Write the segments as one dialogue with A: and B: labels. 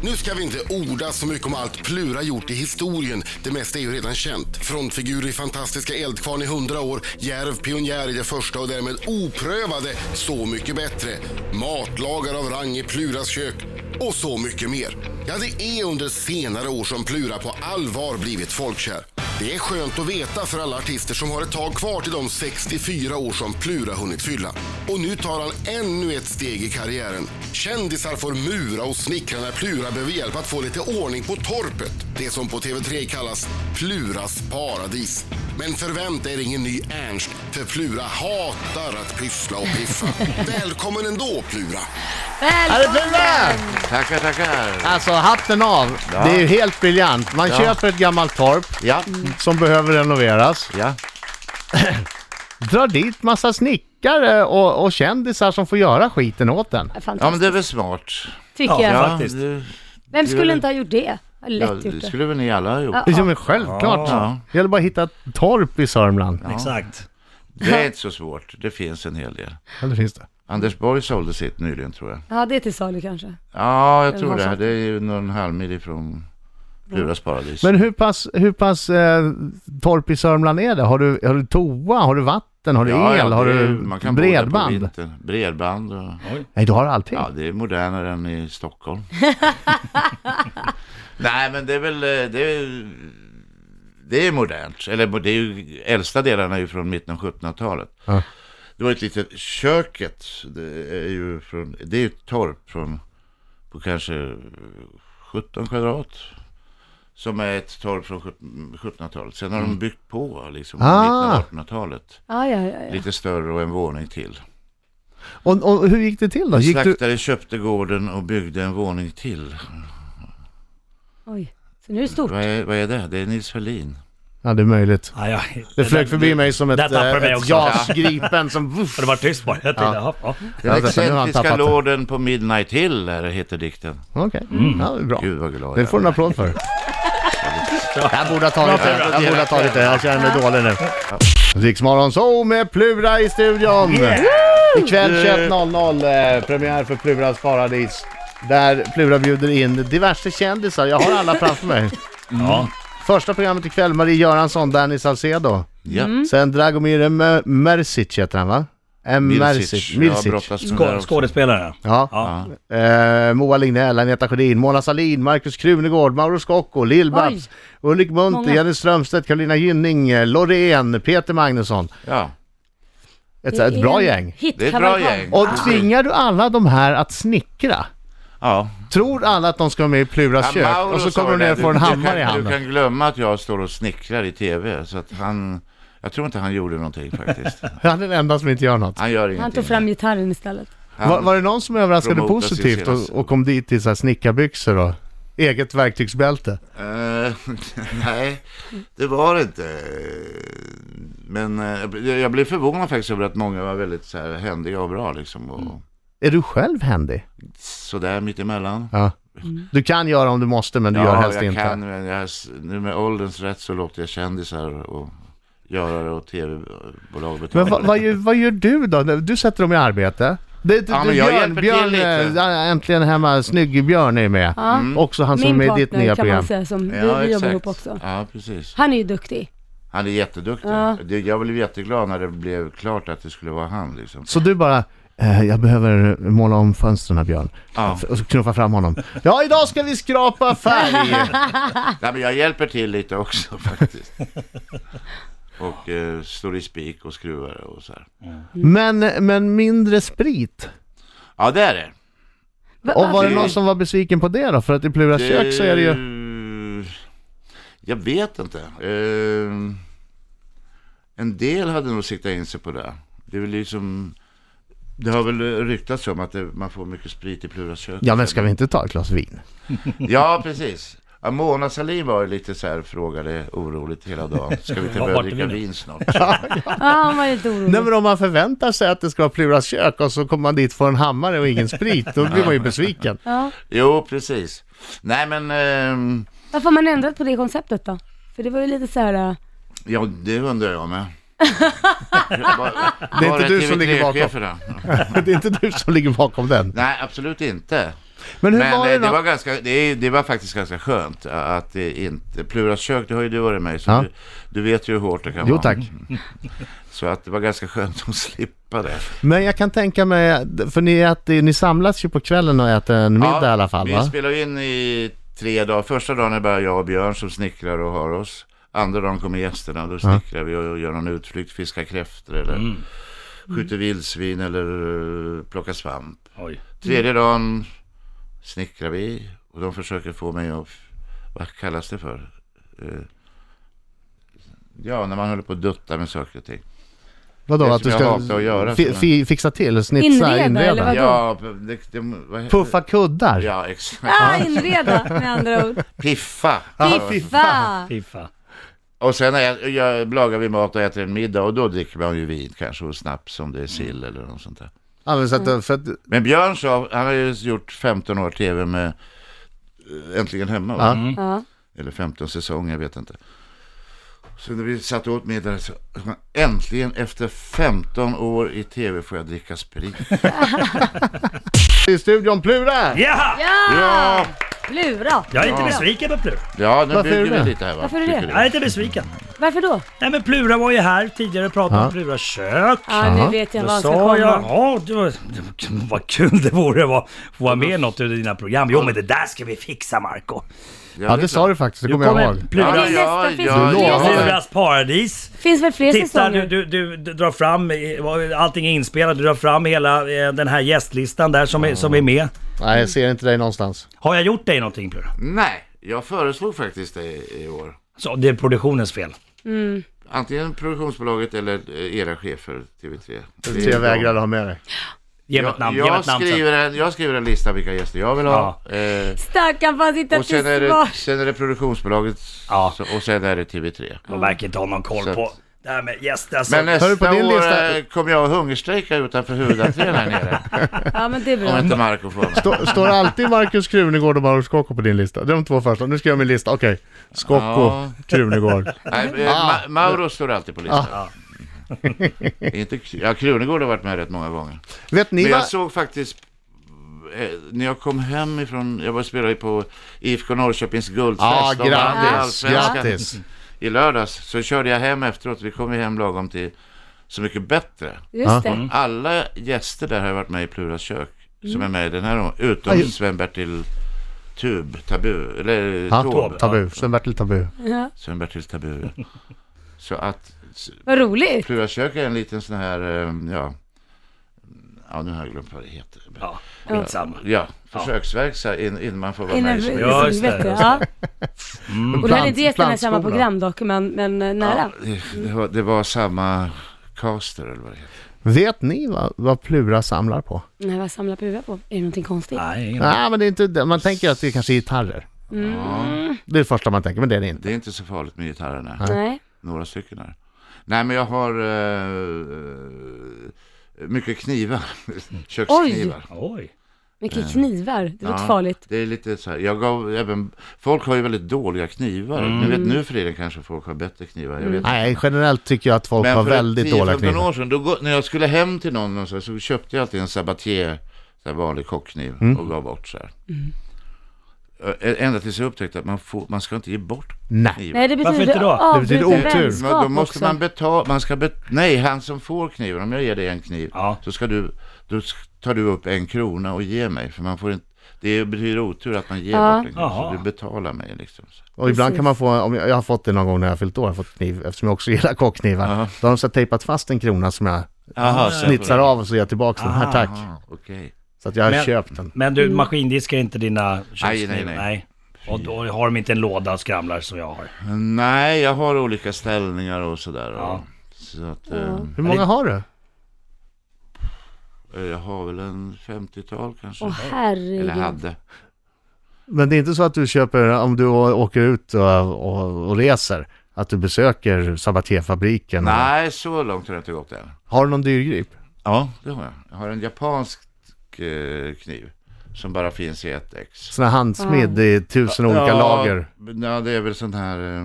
A: Nu ska vi inte orda så mycket om allt Plura gjort i historien. Det mesta är ju redan känt. Frontfigur i Fantastiska Eldkvarn i 100 år, djärv pionjär i det första och därmed oprövade Så mycket bättre, matlagare av rang i Pluras kök och så mycket mer. Ja, det är under senare år som Plura på allvar blivit folkkär. Det är skönt att veta för alla artister som har ett tag kvar till de 64 år som Plura hunnit fylla. Och nu tar han ännu ett steg i karriären. Kändisar får mura och snickra när Plura behöver hjälp att få lite ordning på torpet. Det som på TV3 kallas Pluras paradis. Men förvänta er ingen ny Ernst, för Plura hatar att pyssla och piffa. Välkommen ändå, Plura!
B: Välkommen!
C: Tackar, tackar.
B: Alltså hatten av. Det är ju helt briljant. Man
C: Ja.
B: köper ett gammalt torp
C: Ja,
B: som behöver renoveras.
C: ja,
B: Drar dit massa snickare och, och kändisar som får göra skiten åt den.
C: ja men
D: Fantastiskt,
C: det är väl smart.
D: tycker
C: Ja,
D: jag.
E: Faktiskt.
C: det,
D: Vem
C: det
D: skulle
C: är-
D: inte ha gjort det? Har
C: ja,
D: Lätt gjort
C: det
D: det.
C: skulle väl ni alla ha gjort.
D: Ja.
B: Ja, men självklart.
C: Ja.
B: Det gäller bara att hitta ett torp i Sörmland.
E: Exakt.
C: Det är inte så svårt, det finns en hel del.
B: Eller finns det?
C: Anders Borg sålde sitt nyligen tror jag.
D: Ja, det är till salu kanske.
C: Ja, jag tror
D: någon
C: det.
D: sån.
C: Det är ju någon halv mil ifrån Pluras paradis.
B: Men hur pass, hur pass eh, torp i Sörmland är det? Har du, har du toa? Har du vatten? Har du
C: Ja,
B: el?
C: ja, det
B: har du
C: är- man kan bo där på
B: bredband?
C: vintern. Bredband och...
B: Nej, du har allting.
C: Ja, det är modernare än i Stockholm. Nej, men det är väl... eh, Det är, det är modernt. Eller mo- det är ju, äldsta delarna är ju från mitten av 1700-talet.
B: Ja.
C: Det var ett litet... Köket, det är ju från... Det är ju ett torp från... På kanske 17 kvadrat. Som är ett torp från 17- 1700-talet. Sen har de byggt på liksom
B: Mm. Ah.
C: mitten av 1800-talet.
D: Ja, ja, ja. ja.
C: Lite större och en våning till.
B: Och, och hur gick det till då? Gick du...
C: Slaktare köpte gården och byggde en våning till.
D: Oj. Så nu är det stort.
C: Vad är, vad är det? Det är Nils Ferlin.
B: Ja, det är möjligt.
E: Ja, ja.
B: Det flög förbi mig som ett,
E: där tappade
B: eh,
E: mig
B: ett
E: också.
B: JAS Gripen som...
E: Och det var tyst bara. Jag tänkte, ja. Ja,
C: Den
B: Ja, vänta, nu har han
C: excentriska
B: tappat det.
C: lorden på Midnight Hill är det, heter dikten.
B: Okej,
E: Mm.
B: ja, det är bra.
C: Gud vad glad
B: Det får du en
C: jag
B: applåd för. Jag borde ha tagit det. Jag borde ha tagit det. Jag känner mig dålig nu. Riksmorgon så med Plura i studion. Ikväll 21.00 eh, premiär för Pluras paradis. Där Plura bjuder in diverse kändisar. Jag har alla framför mig.
E: ja.
B: Första programmet ikväll, Marie Göransson, Danny Saucedo.
C: Ja.
D: Mm.
B: Sen Dragomir Mer- Mersic heter han va? M. Mersic.
C: Milsic.
B: Milsic.
C: Jag brottas med det
E: Skå-
C: också.
E: Skådespelare.
B: Ja.
E: Ja.
B: Eh, Moa Lignell, Agneta Sjödin, Mona Sahlin, Markus Krunegård, Mauro Scocco, Lill-Babs, Ulrik Munther,
D: Många.
B: Jenny Strömstedt, Karolina Gynning, eh, Loreen, Peter Magnusson.
C: Ja.
B: Ett,
D: Det
B: ett
D: är
B: bra
D: en
B: gäng.
D: hit-
C: Det är ett bra
D: kavalkad.
C: gäng.
B: Och tvingar du alla de här att snickra?
C: Ja.
B: Tror alla att de ska vara med i Pluras
C: Ja,
B: kök?
C: Mauro
B: Och så
C: sa
B: kommer de
C: det.
B: ner och får en
C: Du- du
B: hammare
C: kan-
B: i
C: Du
B: handen.
C: kan glömma att jag står och snickrar i tv. Så att han... Jag tror inte han gjorde någonting faktiskt.
B: Han är den enda som inte gör något.
C: Han gör ingenting.
D: Han tog fram gitarren istället.
C: Han-
B: Var, var det någon som överraskade
C: Promota
B: positivt
C: sin
B: och, och kom dit i så här snickarbyxor och eget verktygsbälte?
C: Eh, nej, det var det inte. Men eh, jag blev- jag blev förvånad faktiskt över att många var väldigt så här, händiga och bra liksom. Och
B: Är du själv händig?
C: sådär mittemellan.
B: Ja.
D: Mm.
B: Du kan göra om du måste, men du gör helst
C: jag
B: inte.
C: kan, men jag, nu med ålderns rätt så låter jag kändisar och göra det och tv-bolag
B: Men
C: betala.
B: vad, vad, gör, vad gör du då? Du sätter dem i arbete. Det, det,
C: Ja, men jag
B: Björn,
C: hjälper
B: Björn
C: till lite. Mm.
B: eh, äntligen hemma, snygg Björn är med.
D: Ja.
B: Också han som är
D: Min
B: med i ditt
D: partner
B: nya
D: kan
B: program.
D: man säga som vi,
C: Ja,
D: vi jobbar
C: exakt.
D: ihop också.
C: Ja, precis.
D: Han är ju duktig.
C: Han är jätteduktig.
D: Ja.
C: Det, jag blev jätteglad när det blev klart att det skulle vara han liksom.
B: Så du bara, eh, jag behöver måla om fönstren här, Björn.
C: Ja.
B: Och så knuffa fram honom. Ja, idag ska vi skrapa färg!
C: Nej, men jag hjälper till lite också faktiskt. Och eh, står i spik och skruvar och så här.
B: men, men mindre sprit.
C: Ja, det är det.
D: Va-
B: Och var det
C: Det-
B: någon som var besviken på det då? För att i Plura kök så är det ju...
C: Eh, Jag vet inte. Eh, en del hade nog siktat in sig på det. Det är väl liksom... Det har väl ryktats om att det, man får mycket sprit i Pluras kök.
B: Ja, men ska vi inte ta ett glas vin?
C: Ja, precis. Ja, Mona Sahlin var ju lite så här, frågade oroligt hela dagen. Ska vi inte
E: Vad
C: börja
E: vart det
C: dricka
E: vi nu?
C: vin snart?
D: Ja, han var lite
C: Mm.
D: orolig.
B: Nej men om man förväntar sig att det ska vara Pluras kök och så kommer man dit för en hammare och ingen sprit, då blir man ju besviken.
D: Ja.
C: Jo, precis. Nej, men... ehm,
D: Varför har man ändrat på det konceptet då? För det var ju lite så här... äh,
C: ja, det undrar jag med.
B: Det är inte du som ligger bakom.
C: bakom.
B: Det är inte du som ligger bakom den.
C: Nej, absolut inte.
B: Men hur
C: Men
B: var
C: eh,
B: det
C: det,
B: då?
C: var ganska, det, är- det var faktiskt ganska skönt eh, att det inte... Pluras kök, det har ju du varit med i, så
B: Ja.
C: du, du vet ju hur hårt det kan
B: Jo
C: vara.
B: tack.
C: Så att det var ganska skönt att slippa det.
B: Men jag kan tänka mig, för ni, äter, ni samlas ju på kvällen och äter en middag i alla fall
C: vi
B: va?
C: spelar in i tre dagar. Första dagen är bara jag och Björn som snickrar och har oss. Andra dagen kommer gästerna och då snickrar vi och gör någon utflykt, fiskar kräftor eller skjuter vildsvin eller eh, plockar svamp.
E: Oj.
C: Tredje dagen snickrar vi och de försöker få mig att, vad kallas det för? Eh, Ja, när man håller på att dutta med saker och ting.
B: Vadå
C: det
B: att du
C: som jag
B: ska
C: hatar att göra,
B: fi,
C: så-
B: fi, fixa till, snitsa, inreda?
D: Inreda, eller vad- Vadå?
C: Ja, det, det, vad,
B: Puffa kuddar?
C: Ja, exakt.
D: Ah, inreda med andra ord.
C: Piffa.
D: Piffa!
E: Fy fan.
C: Och sen är, jag, lagar vi mat och äter en middag och då dricker man ju vin kanske och snaps om det är sill eller något sånt där.
B: Ja, men så att, för att,
C: Men Björn sa, han har ju gjort 15 år tv med eh, Äntligen Hemma. va?
B: Ja.
D: Ja.
C: Eller 15 säsonger, jag vet inte. Så när vi satt och åt middag så äntligen efter 15 år i tv får jag dricka sprit.
B: I studion Plura!
E: Ja!
D: ja! Plura!
E: Jag är inte besviken på Plura.
C: Ja, nu
B: Varför är
C: bygger
B: du
C: vi
B: det?
C: lite här va?
D: Varför är du
C: Tycker
D: det?
E: Jag är inte besviken.
D: Varför då?
E: Nej men Plura var ju här tidigare och pratade
B: Ja.
E: om Pluras kök.
D: Ja,
B: Jaha.
D: nu vet jag
E: Då
D: vad han ska
E: sa
D: komma.
E: jag, ja det var, vad kul det vore att vara- få vara med i något av dina program. Jo men det där ska vi fixa Marco.
B: Ja det sa du faktiskt, det
E: Du
B: kommer jag ihåg.
E: kommer
D: Men
E: Plura,
D: det är
C: Ja,
D: nästa finns
C: ja,
D: det fler
B: ja.
D: säsonger?
E: Pluras paradis.
D: Finns väl fler
E: Titta,
D: säsonger?
E: du, du, du, du drar fram, eh, allting är inspelat, du drar fram hela eh, den här gästlistan där som, är, som är med.
B: Nej jag ser inte dig någonstans.
E: Har jag gjort dig någonting Plura?
C: Nej, jag föreslog faktiskt det i- i år.
E: Så det är produktionens fel.
C: Antingen produktionsbolaget eller eh, era chefer, TV3. Det är
B: Så jag
C: de-
B: vägrar ha med dig.
E: Ge mig
C: Jag,
E: ett namn, ge mig
C: jag,
E: ett namn sen.
C: skriver en, jag skriver en lista vilka gäster jag vill ha. Eh,
D: Stackarn får sitta
C: och sen är,
D: till
C: det,
D: svars.
C: sen är det produktionsbolaget s-
E: Ja.
C: så- och sen är det TV3.
E: De verkar inte ha någon koll
C: Så att-
E: på det här med gäster. Alltså.
C: Men nästa
B: du på din
C: år
B: lista-
C: eh, kommer jag att hungerstrejka utanför huvudentrén här nere.
D: Ja, men det är bra.
C: Om inte Marco får mig.
B: Stå- Står alltid Markus Krunegård och Mauro Scocco på din lista? Det är de två första. Nu ska jag göra min lista, okej. Scocco,
C: Ja.
B: Krunegård.
C: Nej, eh,
E: Ah.
C: Ma- Mauro står alltid på listan. inte, Kr- ja, Krunegård har varit med rätt många gånger.
B: Vet ni
C: Men
B: vad...
C: jag såg faktiskt eh, när jag kom hem ifrån, jag var och spelade på IFK Norrköpings guldfest.
E: Ah,
B: Ja,
C: De vann i
B: grattis,
C: Allsvenskan
B: grattis.
C: I lördags så körde jag hem efteråt, vi kom ju hem lagom till Så mycket bättre.
B: Ja.
D: Just det.
C: Alla gäster där har varit med i Pluras kök, som är med i den här gången, utom
B: Aj.
C: Sven-Bertil Tub, Tabu, eller
B: Ja,
C: Taube.
B: tabu. Sven-Bertil Tabu.
D: Ja.
C: Sven-Bertil Tabu. ja. Så att s-
D: Vad roligt.
C: Pluras kök är en liten sån här, eh, ja, ja nu har jag glömt vad det heter.
E: Ja, skitsamma.
C: Ja, försöksverksamhet in, innan man får vara
D: Innan
C: med. i
D: vi-
C: så-
E: Ja, just det,
D: helvete,
E: just
D: ja. Och du hade inte gett henne samma
B: plantskola.
D: program dock, men, men eh, nära.
C: Det- Det var, det var samma caster eller vad det heter.
B: Vet ni vad, vad Plura samlar på?
C: Mm.
D: Nej, vad samlar Pura på? Är det någonting konstigt?
E: Nej, ingen-
B: Nej, men det är inte det. Man tänker att det kanske är gitarrer.
D: Mm.
B: Det är det första man tänker, men det är det inte.
C: Det är inte så farligt med gitarrerna.
D: Nej.
C: Några stycken här. Nej, men jag har eh, mycket knivar. Köksknivar.
E: Oj.
D: Mycket knivar. Det låter
C: Eh. Ja,
D: farligt.
C: Det är lite så här. Jag gav även, folk har ju väldigt dåliga knivar.
B: Mm.
C: Ni vet nu för tiden kanske folk har bättre knivar. Jag vet inte.
B: Nej, generellt tycker jag att folk har
C: Men för
B: väldigt dåliga
C: 10-15
B: knivar.
C: år sedan, då, gå- när jag skulle hem till någon och så, här, så köpte jag alltid en Sabatier, så här vanlig kockkniv,
B: Mm.
C: och gav bort så här. Ä- Ända tills jag upptäckte att man, får, man ska inte ge bort
B: Nej.
C: knivar.
D: Nej, det
E: Varför inte
D: betyder
E: då?
B: Det betyder
D: avbruten
B: otur.
C: Men
D: vänskap
C: då måste
D: också.
C: man betala, man ska bet- nej han som får kniven, om jag ger dig en kniv,
E: Ja.
C: så ska du, då sk- tar du upp en krona och ger mig, för man får inte, det betyder otur att man ger
D: Ja.
C: bort en kniv, så
E: Jaha.
C: du betalar mig liksom. Så.
B: Och ibland kan man få, om jag, jag har fått det någon gång när jag har fyllt år, jag har fått kniv, eftersom jag också gillar kockknivar. Då har de så här tejpat fast en krona som jag Ah.
C: Aha,
B: snitsar av och så ger jag tillbaka den. Här tack.
C: Okej.
B: Så att jag har
E: Men-
B: köpt den.
E: Men du, maskindiskar inte dina köksknivar?
C: nej, nej.
E: Och då har de inte en låda och skramlar som jag har.
C: Nej, jag har olika ställningar och sådär. och-
E: Ja.
C: Så att, eh,
B: Hur många har du?
C: Jag har väl en 50-tal kanske.
D: Åh
C: Eller
D: herregud.
C: hade.
B: Men det är inte så att du köper, om du å- åker ut och, och, och reser, att du besöker Sabatierfabriken?
C: Nej, så långt har jag inte gått än.
B: Har du någon dyrgrip?
C: Ja, det har jag. Jag har en japansk eh, kniv som bara finns i ett ex.
B: Sån här handsmidd i tusen olika
C: ja,
B: lager?
C: Ja, det är väl sån här eh,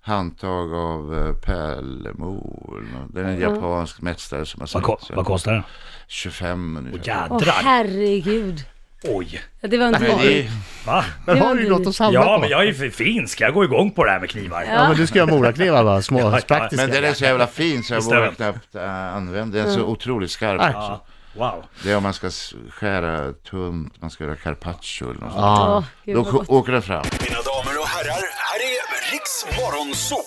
C: handtag av eh, Pärlemo. eller nå- Det är en japansk mästare som har
E: Vad, ko-
C: sett.
E: vad kostar den?
C: 25
E: Åh,
C: ungefär.
D: Åh
E: Jädrar!
D: herregud.
E: Oj.
D: Ja, det var inte
C: Men
D: jag.
C: det är,
E: Va?
B: Men
D: Det
B: har
D: var
B: du ju
D: dyrt.
B: något att samla
E: Ja,
B: på?
E: men jag är ju för finsk. Jag går igång på det här med knivar.
B: Ja, men du ska göra moraknivar va? Små,
E: ja.
B: praktiska.
C: men den är så jävla fin så jag
E: Just det.
C: vågar knappt äh, använda den. Den är
D: Mm.
C: så otroligt skarp
B: Ah.
C: också.
E: Ja. Wow.
C: Det är om man ska s- skära tunt, man ska göra carpaccio eller något sånt.
D: Ja, gud,
C: Då
D: vad
C: k-
D: gott.
C: åker det fram.
F: Mina damer och herrar, här är Riks Morgonzoo!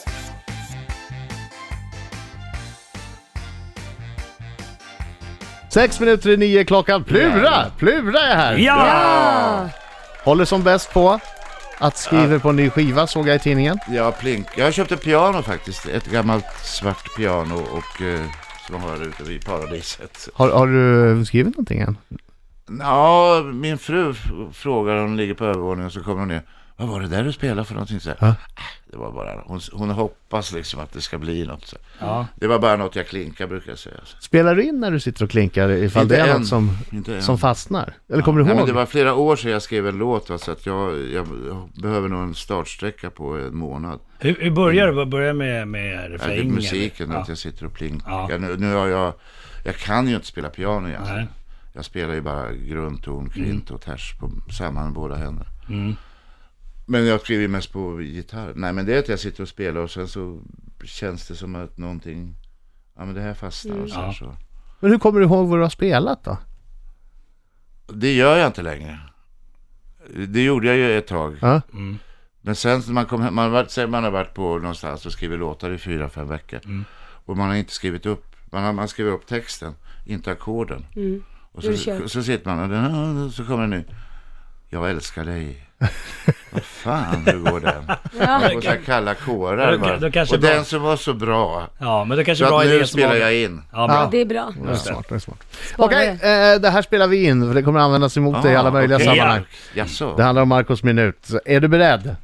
B: Sex minuter i nio klockan. Plura! Plura är här!
D: Ah!
E: Ja!
B: Håller som bäst på att skriva på en ny skiva såg jag i tidningen.
C: Ja, plink. Jag köpte piano faktiskt. Ett gammalt svart piano och eh, som har ute vid paradiset.
B: Har, har du skrivit någonting än?
C: Ja, min fru f- frågar, hon ligger på övervåningen och så kommer hon ner. Vad var det där du spelade för någonting? Så här,
B: Ja.
C: "Ah, Det var bara, hon, hon hoppas liksom att det ska bli något. Så. här.
E: Ja.
C: Det var bara något jag klinkar brukar jag säga. Så.
B: Spelar du in när du sitter och klinkar ifall det
C: Inte
B: är
C: än.
B: något som,
C: Inte än.
B: som fastnar? Eller kommer du
C: Nej, men
B: ihåg?
C: det var flera år sedan jag skrev en låt va, så att jag, jag, jag behöver nog en startsträcka på en månad.
E: Hur, hur börjar du? Börjar med, med
C: Ja, det är
E: refrängen?
C: musiken,
E: Ja.
C: att jag sitter och plinkar.
E: Ja.
C: Nu, nu har jag, jag kan ju inte spela piano egentligen.
E: Nej.
C: Jag spelar ju bara grundton, kvint och ters på samman med båda händer.
E: Mm.
C: Men jag skriver ju mest på gitarr. Nej men det är att jag sitter och spelar och sen så känns det som att någonting, ja men det här fastnar och så, här,
E: Mm. Ja.
C: så.
B: Men hur kommer du ihåg vad du har spelat då?
C: Det gör jag inte längre. Det gjorde jag ju ett tag.
B: Ja.
E: Mm.
C: Men sen när man kom hem, man, har varit- säg man har varit på någonstans och skrivit låtar i fyra, fem veckor.
E: Mm.
C: Och man har inte skrivit upp, man, har, man skriver upp texten, inte ackorden.
B: Mm.
C: Och
D: Då är
C: så,
D: det kört.
C: så sitter man och den- så kommer den nu. Jag älskar dig. Vad fan, hur går den? Man får så här kalla kårar
E: Då-
C: bara.
E: då kanske
C: Och
E: bra-
C: den som var så bra.
E: Ja, men det kanske
C: Så
E: är bra
C: att
E: idé
C: nu
E: som
C: spelar
E: har-
C: jag in.
E: Ja, bra.
D: Det är bra.
B: Det är smart, det är smart.
D: Spara
B: Okej,
D: det.
B: eh, det här spelar vi in för det kommer användas emot dig i alla möjliga
E: okej.
B: sammanhang.
C: Ah, Jaså?
B: Det handlar om Marcos minut. Så Är du beredd?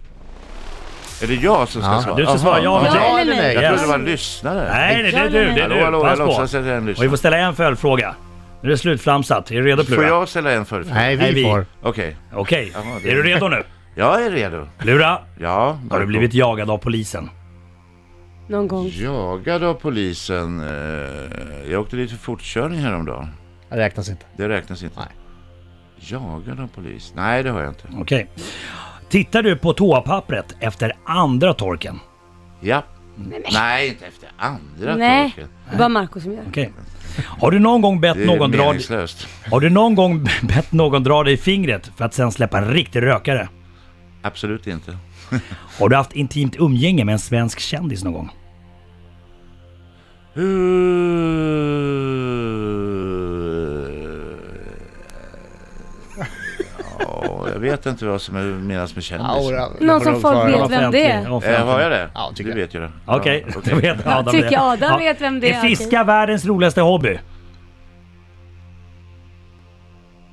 C: Är det jag som ska
B: Ja.
C: svara?
E: Du ska
C: Jaha,
E: svara ja eller nej.
D: Ja eller nej?
C: Jag trodde
E: Yes.
C: det var en lyssnare.
E: Nej, nej, det är du. Det är
C: Hallå,
E: du.
C: hallå, jag
E: Pass
C: låtsas
E: på.
C: att jag är en
E: Och vi
C: lyssnare.
E: får ställa en följdfråga. Nu är det slutflamsat. Är du redo
C: Får
E: Plura?
C: jag ställa en förfråga?
B: Nej, vi
E: Nej, vi.
B: får.
C: Okej,
E: Okej.
C: Jaha, det-
E: Är du redo nu?
C: jag är redo.
E: Plura,
C: Ja.
E: har du blivit jagad av polisen?
D: Någon gång.
C: jagad av polisen? eh, Jag åkte dit för fortkörning häromdagen.
B: Det räknas inte.
C: Det räknas inte.
B: Nej.
C: Jagad av polis? Nej, det har jag inte.
E: Okej. Tittar du på toapappret efter andra torken?
C: Ja. Nej, inte efter andra
D: Nej,
C: torken.
D: det är bara Marco som gör.
E: Okej. Har du någon gång bett
C: Det är
E: någon dra...
C: meningslöst.
E: Har du någon gång bett någon dra dig i fingret för att sen släppa en riktig rökare?
C: Absolut inte.
E: Har du haft intimt umgänge med en svensk kändis någon gång?
C: Ja, jag vet inte vad som är menas med kändis.
D: Någon som folk vet
E: Offentlig-
D: vem det är.
E: offentlig.
C: Eh, har jag det?
B: Ja, tycker
C: du
B: jag.
C: vet ju det.
E: Okej,
C: Ja,
E: då vet Adam
D: Tycker
E: det.
D: Adam vet vem det är,
E: Är fiska världens roligaste hobby?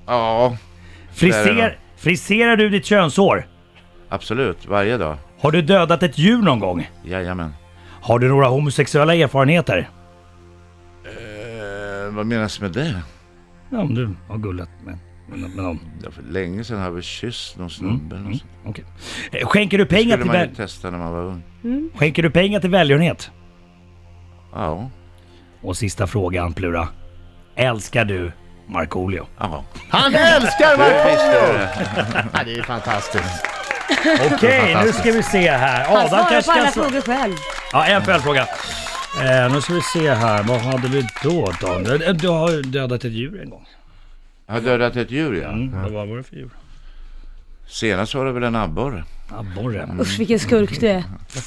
C: ja, Där är
E: Friser, friserar du ditt könshår?
C: absolut. Varje dag.
E: Har du dödat ett djur någon gång?
C: Jajamän.
E: Har du några homosexuella erfarenheter?
C: Eh, vad menas med det?
E: Ja, om du har gullat med, med, med någon.
C: Ja, för länge sedan har vi kysst någon snubbe. Mm. Mm.
E: Okej. Eh, Skänker, du pengar
C: skulle
E: till
C: man ju
E: väl,
C: testa när man var ung.
E: skänker du pengar till välgörenhet?
C: Ja.
E: Och sista frågan Plura. Älskar du Markoolio?
C: ja.
B: Han älskar
C: Jag
B: Marcos!
C: visste det.
B: Ja, det är fantastiskt.
E: Okej, nu ska vi se här.
D: Han
E: Adam
D: svarar på
E: kanske kan
D: alla
E: svara.
D: frågor själv.
E: Ja, en följdfråga. Eh, nu ska vi se här. Vad hade vi då då? Du, du har ju dödat ett djur en gång.
C: Jag har dödat ett djur ja.
E: Mm. Vad var det för djur?
C: Senast var det väl en abborre.
E: Abborre.
D: Usch vilken skurk du är.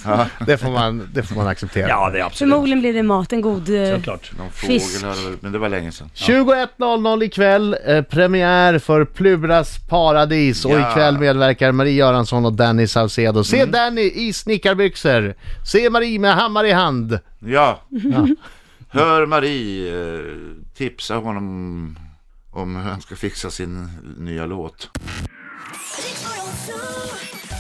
E: Mm.
B: Det får man, det får man acceptera.
E: Ja, det är absolut.
D: Förmodligen blir det mat, en god... eh,
E: Såklart.
C: Någon
D: Fisk.
C: fågel hade väl, men det var länge sedan.
B: 21.00 ikväll, eh, premiär för Pluras paradis och
C: Ja.
B: ikväll medverkar Marie Göransson och Danny Saucedo. Se Danny i snickarbyxor, se Marie med hammare i hand.
C: Ja. Hör Marie eh, tipsa honom om hur han ska fixa sin nya låt.
G: Riks Morgonzoo.